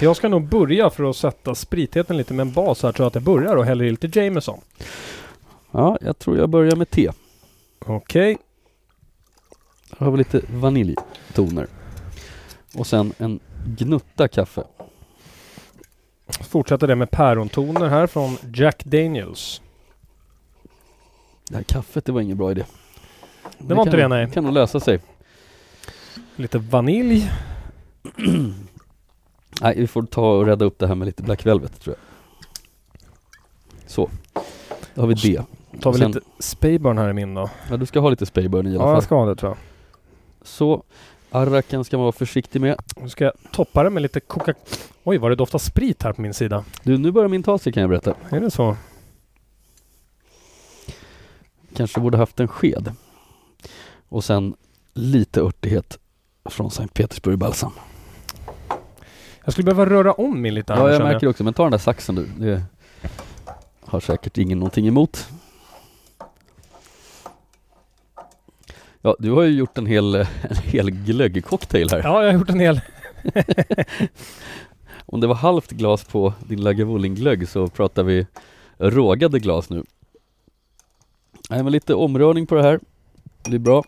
jag ska nog börja för att sätta spritheten lite med en bas här. Tror jag att jag börjar och häller i lite Jameson.
Ja, jag tror jag börjar med te.
Okej.
Här har vi lite vaniljtoner. Och sen en gnutta kaffe.
Fortsätter det med pärontoner här från Jack Daniels.
Det här kaffet, det var ingen bra idé.
Det var inte
kan,
det, nej.
kan nog lösa sig.
Lite vanilj.
Nej, vi får ta och rädda upp det här med lite Black Velvet tror jag. Så. Då har vi det.
Tar vi
Sen-
lite Speyburn här i min då.
Ja, du ska ha lite Speyburn i alla
Ja,
fall.
jag ska ha det tror jag.
Så. Arraken ska man vara försiktig med.
Nu ska jag toppa det med lite Coca... Oj, vad det doftar sprit här på min sida.
Du, nu börjar min ta sig kan jag berätta.
Är det så?
Kanske borde haft en sked. Och sen lite örtighet från Sankt Petersburg balsam.
Jag skulle behöva röra om min lite här,
Ja, jag
känner
märker det också. Men ta den där saxen du. Det har säkert ingen någonting emot. Ja, du har ju gjort en hel, (laughs) en hel glöggcocktail här.
Ja, jag har gjort en hel.
Om det var halvt glas på din Lagavulin-glögg så pratar vi rågade glas nu. Nej, men lite omrörning på det här. Det är bra.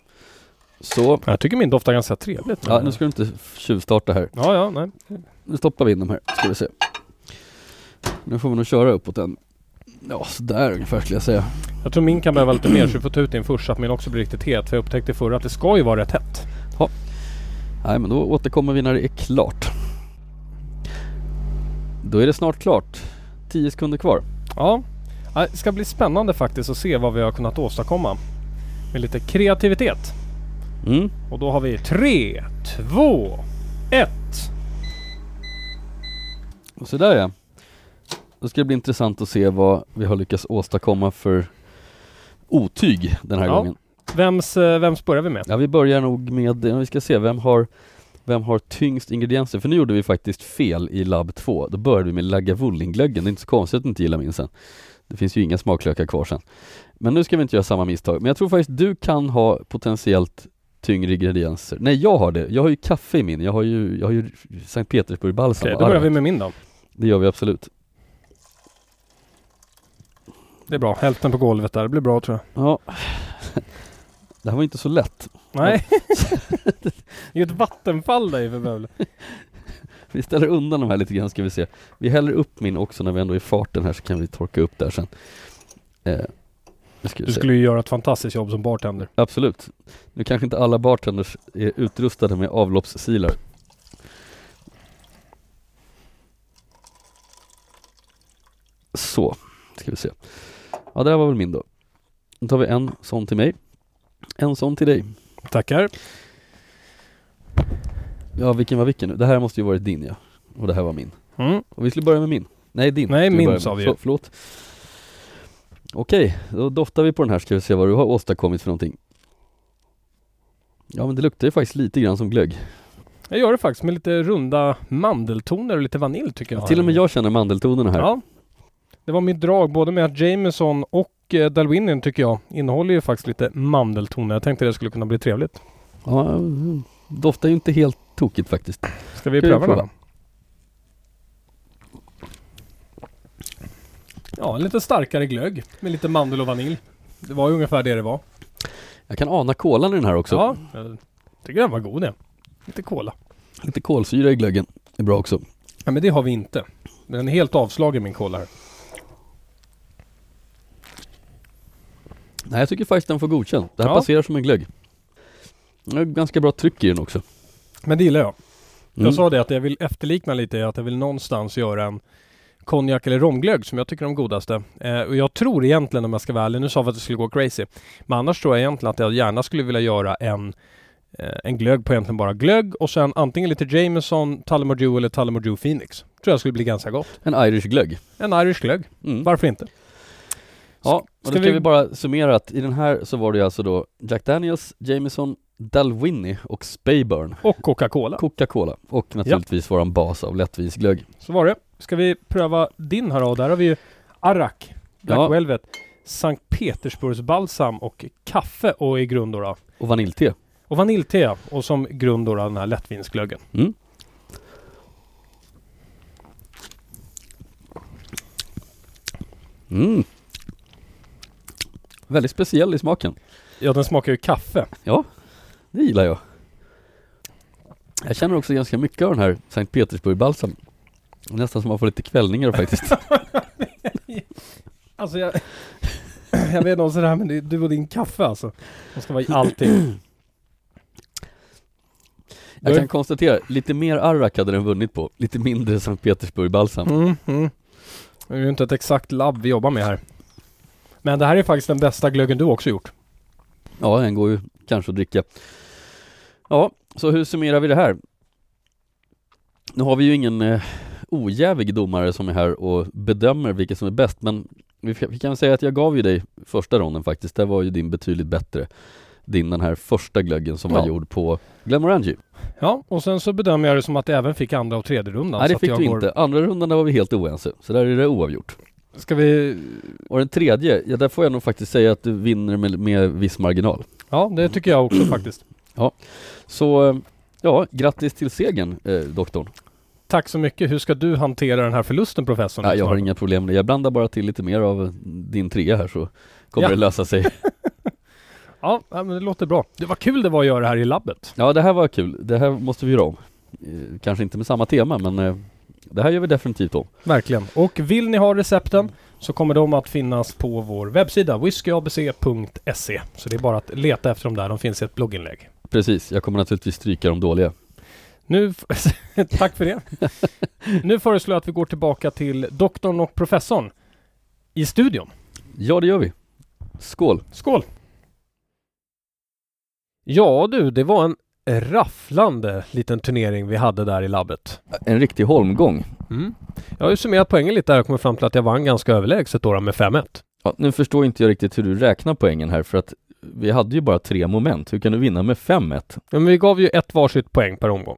Så.
Jag tycker min doftar ganska trevligt.
Ja, nu ska du inte tjuvstarta här.
ja, ja, nej.
Nu stoppar vi in dem här, ska vi se. Nu får vi nog köra uppåt den. Ja, sådär ungefär skulle jag säga.
Jag tror min kan behöva lite mer så vi får ta ut din först så att min också blir riktigt het. För jag upptäckte förra att det ska ju vara rätt hett.
Nej, men då återkommer vi när det är klart. Då är det snart klart. 10 sekunder kvar.
Ja. Ja, Det ska bli spännande faktiskt att se vad vi har kunnat åstadkomma. Med lite kreativitet.
Mm.
Och då har vi tre, två, ett.
Och sådär ja. Då ska det bli intressant att se vad vi har lyckats åstadkomma för otyg den här
Ja.
gången.
Vems, eh, vems börjar vi med?
Ja, vi börjar nog med, ja, vi ska se, vem har, vem har tyngst ingredienser? För nu gjorde vi faktiskt fel i labb 2. Då började vi med lagavulin-glöggen. Det är inte så konstigt att du inte gillar min sen. Det finns ju inga smaklökar kvar sen. Men nu ska vi inte göra samma misstag. Men jag tror faktiskt du kan ha potentiellt tyngre ingredienser. Nej, jag har det. Jag har ju kaffe i min. Jag har ju, jag har ju Sankt Petersburg-balsam.
Okej,
och
då börjar
arrak.
vi med min då.
Det gör vi absolut.
Det är bra. Hälften på golvet där. Det blir bra tror jag.
Ja. Det här var inte så lätt.
Nej. (laughs) det är ju ett vattenfall där i för bövle.
Vi ställer undan de här lite grann ska vi se. Vi häller upp min också när vi ändå är i farten här så kan vi torka upp där sen. Eh, nu ska vi
Du
se.
skulle ju göra ett fantastiskt jobb som bartender.
Absolut. Nu kanske inte alla bartenders är utrustade med avloppssilar. Så, ska vi se. Ja, det här var väl min då. Nu tar vi en sån till mig. En sån till dig.
Tackar.
Ja, vilken var vilken nu? Det här måste ju varit din ja. Och det här var min.
Mm.
Och vi skulle börja med min. Nej, din.
Nej,
skulle
min
börja med.
sa vi ju.
Så, förlåt. Okej, då doftar vi på den här ska vi se vad du har åstadkommit för någonting. Ja men det luktar ju faktiskt lite grann som glögg.
Jag gör det faktiskt med lite runda mandeltoner och lite vanilj tycker jag.
Till och med jag känner mandeltonerna här.
Ja. Det var mitt drag både med att Jameson och eh, Dalwinian tycker jag innehåller ju faktiskt lite mandeltoner. Jag tänkte det skulle kunna bli trevligt.
Ja, mm, doftar ju inte helt tokigt faktiskt.
Ska vi
Ska vi
pröva den?
prova?
Ja, en lite starkare glögg med lite mandel och vanilj. Det var ju ungefär det det var.
Jag kan ana kolan i den här också.
Ja, jag tycker den var god det. Lite kola.
Lite kolsyra i glöggen är bra också.
Nej men det har vi inte. Den är helt avslagen min kola här.
Nej jag tycker faktiskt den får godkänd. Det här
Ja.
passerar som en glögg. Det är ganska bra tryck i den också.
Men det gillar jag.
Mm.
Jag sa det att jag vill efterlikna lite, att jag vill någonstans göra en konjak eller romglögg som jag tycker är de godaste. Eh, och jag tror egentligen om jag ska vara ärlig, nu sa vi att det skulle gå crazy. Men annars tror jag egentligen att jag gärna skulle vilja göra en, eh, en glögg på egentligen bara glögg och sen antingen lite Jameson, Tullamore eller Tullamore Phoenix. Tror jag skulle bli ganska gott.
Mm. En Irish glögg.
En Irish glögg,
Mm.
varför inte?
Ja, och då
ska
ska vi...
vi-
bara summera att i den här så var det ju alltså då Jack Daniels, Jameson, Dalwhinnie och Speyburn,
Och Coca-Cola.
Coca-Cola och naturligtvis våran bas av lättvinsglögg.
Så var det. Ska vi pröva din här då? Där har vi ju Arak, Black
Ja.
Velvet, Sankt Petersburgs balsam och kaffe och i grund då, då
Och vaniljte.
Och vaniljte och som grund då den här lättvinsglöggen.
Mm. Mm. Väldigt speciell i smaken.
Ja den smakar ju kaffe.
Ja. det gillar jag. Jag känner också ganska mycket av den här Sankt Petersburg-balsam. Nästan som man får lite kvällningar faktiskt.
Alltså jag... (clears throat) jag vet inte om sådär men det är du och din kaffe alltså. De ska vara i allting. (clears throat)
Jag
Mm,
kan konstatera, lite mer arrak hade den vunnit på, lite mindre Sankt Petersburg-balsam.
Mm, mm. Det är ju inte ett exakt labb vi jobbar med här. Men det här är faktiskt den bästa glöggen du också gjort.
Ja, den går ju kanske att dricka. Ja, så hur summerar vi det här? Nu har vi ju ingen eh, ojävig domare som är här och bedömer vilket som är bäst, men vi, f- vi kan säga att jag gav ju dig första ronden faktiskt. Där var ju din betydligt bättre. Din den här första glöggen som
Ja.
var gjord på Glenmorangie.
Ja, och sen så bedömer jag det som att det även fick andra och tredje rundan. så
Nej, det
att
fick
jag
du
går-
inte. Andra rundan där var vi helt oense, så där är det oavgjort.
Ska vi...
Och den tredje, ja där får jag nog faktiskt säga att du vinner med, med viss marginal.
Ja,
Mm.
det tycker jag också faktiskt.
Så eh, ja, grattis till segern eh, doktorn.
Tack så mycket. Hur ska du hantera den här förlusten professorn?
Nej, jag har inga problem med det. Jag blandar bara till lite mer av din trea här så kommer
Ja.
det lösa sig.
Ja, ja, men det låter bra. Det var kul det var att göra det här i labbet.
(laughs) Ja, det här var kul. Det här måste vi göra om. Eh, Kanske inte med samma tema, men eh, det här gör vi definitivt om.
Verkligen. Och vill ni ha recepten så kommer de att finnas på vår webbsida whiskyabc.se. Så det är bara att leta efter dem där. De finns i ett blogginlägg.
Precis, jag kommer naturligtvis stryka de dåliga.
Nu, f- (laughs) tack för det. nu föreslår jag att vi går tillbaka till doktorn och professorn i studion.
Ja, det gör vi. Skål!
Skål! Ja du, det var en rafflande liten turnering vi hade där i labbet. Mm.
En riktig holmgång.
Jag har ju summerat poängen lite där och kommit fram till att jag vann ganska överlägset då med 5-1.
Ja, nu förstår inte jag riktigt hur du räknar poängen här, för att vi hade ju bara tre moment. Hur kan du vinna med 5-1?
Ja, Men vi gav ju ett varsitt poäng per omgång.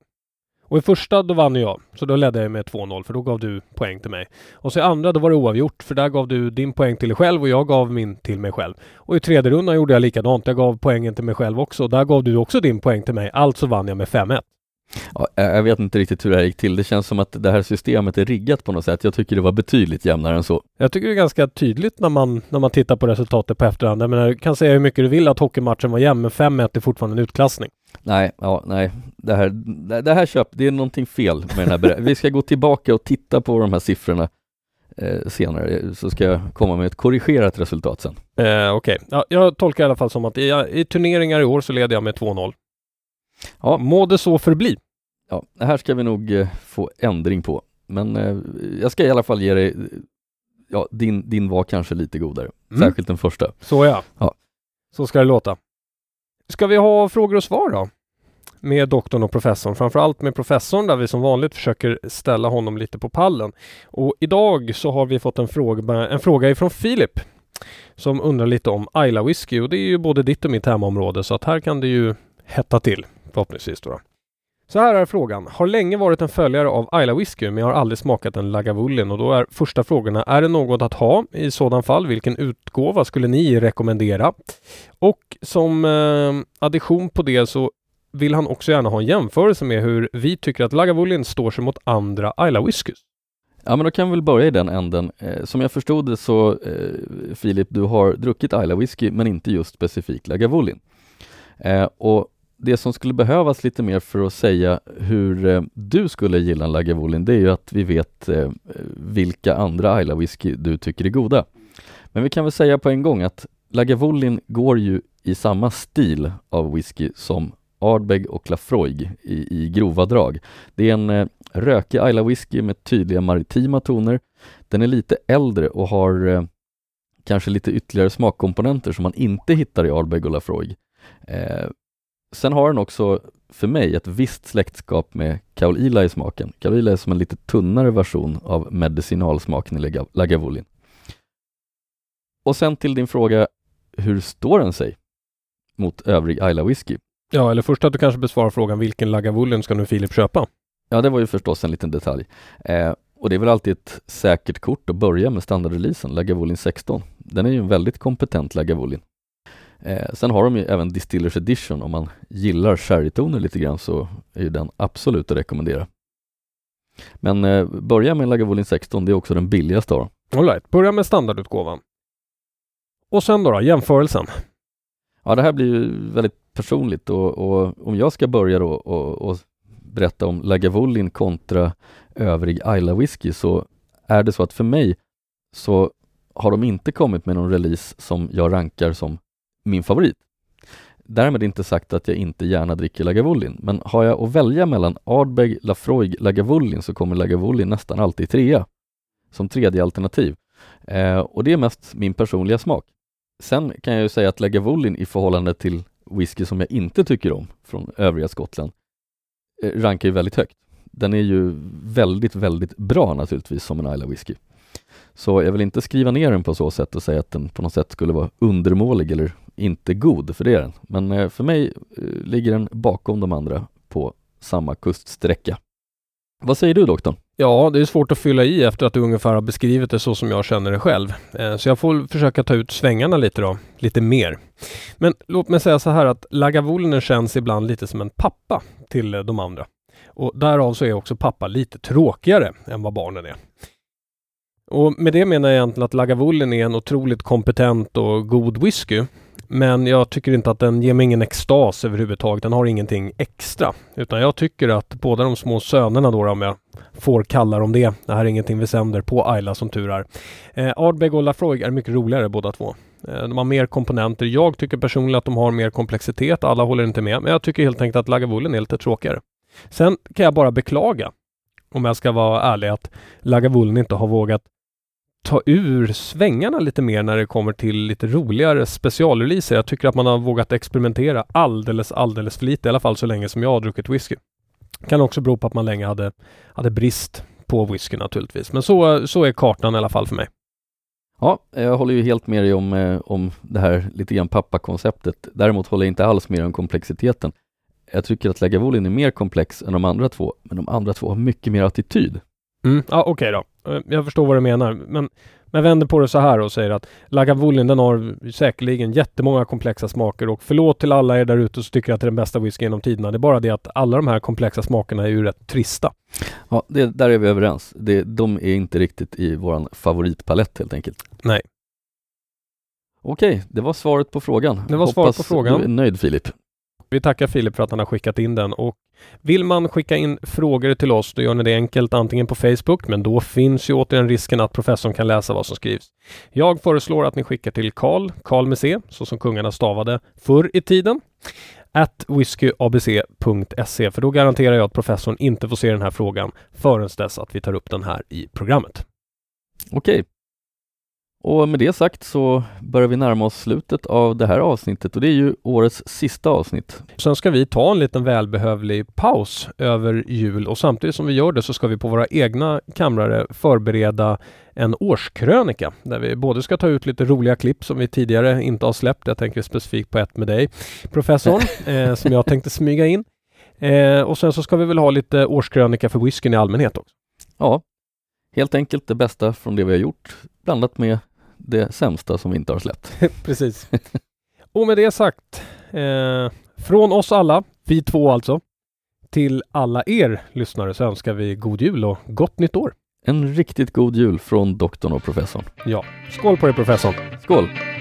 Och i första då vann jag, så då ledde jag med 2-0 för då gav du poäng till mig. Och så i andra då var det oavgjort för där gav du din poäng till dig själv och jag gav min till mig själv. Och i tredje rundan gjorde jag likadant, jag gav poängen till mig själv också och där gav du också din poäng till mig, alltså vann jag med 5-1.
Ja, jag jag vet inte riktigt hur det här gick till. Det känns som att det här systemet är riggat på något sätt. Jag tycker det var betydligt jämnare än så.
Jag tycker det är ganska tydligt när man, när man tittar på resultatet på efterhand. Jag menar, du kan säga hur mycket du vill att hockeymatchen var jämn, men 5-1 är fortfarande en utklassning.
Nej, ja, nej, det här, det det här köp, det är någonting fel med den här berä- (laughs) Vi ska gå tillbaka och titta på de här siffrorna eh, senare, eh, så ska jag komma med ett korrigerat resultat sen.
Eh, Okej, ja, jag tolkar i alla fall som att i, i turneringar i år så leder jag med 2-0. Ja,
Ja.
må det så förbli.
Ja, det här ska vi nog eh, få ändring på, men eh, jag ska i alla fall ge dig, eh, ja, din, din var kanske lite godare,
Mm.
särskilt den första.
Så ja.
Ja.
Så ska det låta. Ska vi ha frågor och svar då? Med doktorn och professorn, framförallt med professorn där vi som vanligt försöker ställa honom lite på pallen. Och idag så har vi fått en fråga, en fråga ifrån Filip som undrar lite om Isla Whisky och det är ju både ditt och mitt hemområde så att här kan det ju hetta till förhoppningsvis då. då. Så här är frågan. Har länge varit en följare av Isla Whisky men jag har aldrig smakat en Lagavulin och då är första frågorna. Är det något att ha? I sådan fall, vilken utgåva skulle ni rekommendera? Och som eh, addition på det så vill han också gärna ha en jämförelse med hur vi tycker att Lagavulin står sig mot andra Isla Whiskys.
Ja, men då kan vi väl börja i den änden. Eh, som jag förstod det så, eh, Filip, du har druckit Isla Whisky, men inte just specifikt Lagavulin. Eh, och det som skulle behövas lite mer för att säga hur eh, du skulle gilla en Lagavulin, det är ju att vi vet eh, vilka andra Isla Whisky du tycker är goda. Men vi kan väl säga på en gång att Lagavulin går ju i samma stil av whisky som Ardbeg och Lafroig i, i grova drag. Det är en eh, rökig Isla Whisky med tydliga maritima toner. Den är lite äldre och har eh, kanske lite ytterligare smakkomponenter som man inte hittar i Ardbeg och Lafroig. Eh, sen har den också för mig ett visst släktskap med Kaolila i smaken. Kaolila är som en lite tunnare version av medicinalsmaken i Laga- Lagavulin. Och sen till din fråga, hur står den sig mot övrig Isla Whisky?
Ja, eller först att du kanske besvarar frågan vilken Lagavulin ska nu Filip köpa?
Ja, det var ju förstås en liten detalj. Eh, och det är väl alltid ett säkert kort att börja med standardreleasen, Lagavulin 16. Den är ju en väldigt kompetent Lagavulin. Eh, sen har de ju även Distillers Edition. Om man gillar sherrytoner lite grann så är ju den absolut att rekommendera. Men eh, börja med Lagavulin 16, det är också den billigaste av dem.
All right, börja med standardutgåvan. Och sen då, då jämförelsen.
Ja, det här blir ju väldigt personligt och, och om jag ska börja då och, och berätta om Lagavulin kontra övrig Isla whisky så är det så att för mig så har de inte kommit med någon release som jag rankar som min favorit. Därmed inte sagt att jag inte gärna dricker Lagavulin, men har jag att välja mellan Ardbeg, Lafroig, Lagavulin så kommer Lagavulin nästan alltid trea, som tredje alternativ. Eh, och det är mest min personliga smak. Sen kan jag ju säga att Lagavulin i förhållande till whisky som jag inte tycker om från övriga Skottland eh, rankar ju väldigt högt. Den är ju väldigt, väldigt bra naturligtvis som en Isla whisky. Så jag vill inte skriva ner den på så sätt och säga att den på något sätt skulle vara undermålig eller inte god, för det är den. Men eh, för mig eh, ligger den bakom de andra på samma kuststräcka. Vad säger du doktorn?
Ja, det är svårt att fylla i efter att du ungefär har beskrivit det så som jag känner det själv. Eh, Så jag får försöka ta ut svängarna lite då, lite mer. Men låt mig säga så här att Lagavulin känns ibland lite som en pappa till eh, de andra. Och därav så är också pappa lite tråkigare än vad barnen är. Och med det menar jag egentligen att Lagavulin är en otroligt kompetent och god whisky. Men jag tycker inte att den ger mig ingen extas överhuvudtaget. Den har ingenting extra. Utan jag tycker att båda de små sönerna då, om jag får kalla dem det. Det här är ingenting vi sänder på Isla som tur är. Eh, Ardbeg och Lafroig är mycket roligare båda två. Eh, de har mer komponenter. Jag tycker personligen att de har mer komplexitet. Alla håller inte med. Men jag tycker helt enkelt att Lagavulin är lite tråkigare. Sen kan jag bara beklaga, om jag ska vara ärlig, att Lagavulin inte har vågat ta ur svängarna lite mer när det kommer till lite roligare specialreleaser. Jag tycker att man har vågat experimentera alldeles, alldeles för lite, i alla fall så länge som jag har druckit whisky. Kan också bero på att man länge hade, hade brist på whisky naturligtvis. Men så, så är kartan i alla fall för mig.
Ja, jag håller ju helt med dig om, eh, om det här lite grann pappakonceptet. Däremot håller jag inte alls med dig om komplexiteten. Jag tycker att Lagavulin är mer komplex än de andra två, men de andra två har mycket mer attityd.
Mm. Ja, okej då. Eh, Jag förstår vad du menar. Men, men vänder på det så här och säger att Lagavulin den har säkerligen jättemånga komplexa smaker och förlåt till alla er där ute som tycker att det är den bästa whiskyn genom tiderna. Det är bara det att alla de här komplexa smakerna är ju rätt trista.
Ja, det, där är vi överens. Det, de är inte riktigt i våran favoritpalett helt enkelt.
Nej.
Okej, det var svaret på frågan.
Det var svaret
Hoppas
på frågan.
du är nöjd Filip.
Vi tackar Filip för att han har skickat in den och vill man skicka in frågor till oss då gör ni det enkelt antingen på Facebook men då finns ju återigen risken att professorn kan läsa vad som skrivs. Jag föreslår att ni skickar till Karl, Karl med C, så som kungarna stavade förr i tiden at whiskyabc.se för då garanterar jag att professorn inte får se den här frågan förrän dess att vi tar upp den här i programmet.
Okej. Och med det sagt så börjar vi närma oss slutet av det här avsnittet och det är ju årets sista avsnitt.
Sen ska vi ta en liten välbehövlig paus över jul och samtidigt som vi gör det så ska vi på våra egna kamrare förbereda en årskrönika där vi både ska ta ut lite roliga klipp som vi tidigare inte har släppt. Jag tänker specifikt på ett med dig,
(laughs)
professorn, eh, som jag tänkte smyga in. Eh, och sen så ska vi väl ha lite årskrönika för whiskyn i allmänhet också.
Ja, helt enkelt det bästa från det vi har gjort blandat med det sämsta som vi inte har släppt.
Precis. Och med det sagt, eh, från oss alla, vi två alltså, till alla er lyssnare så önskar vi god jul och gott nytt år.
En riktigt god jul från doktorn och professorn.
Ja, skål på dig professorn.
Skål!